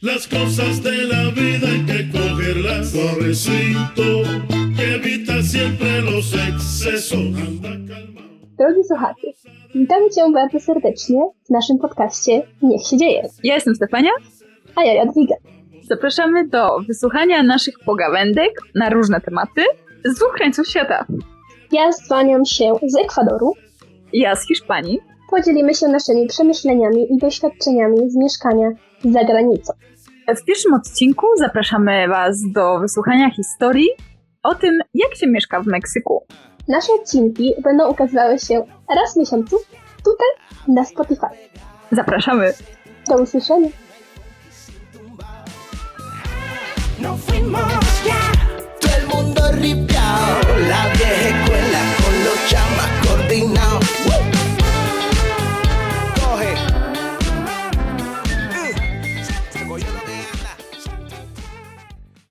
Las cosas de la vida hay que cogerlas suavecito y evita siempre los excesos. Anda calmado. Drogi słuchacze, witamy Cię bardzo serdecznie w naszym podcaście Niech się dzieje, Ja jestem Stefania. a ja Jadwiga. Zapraszamy do wysłuchania naszych pogawędek na różne tematy z dwóch krańców świata. Ja zwaniam się z Ekwadoru. Ja z Hiszpanii. Podzielimy się naszymi przemyśleniami i doświadczeniami z mieszkania za granicą. W pierwszym odcinku zapraszamy Was do wysłuchania historii o tym, jak się mieszka w Meksyku. Nasze odcinki będą ukazywały się raz w miesiącu tutaj na Spotify. Zapraszamy! Do usłyszenia! No fuimos ya. Todo el mundo ripiao.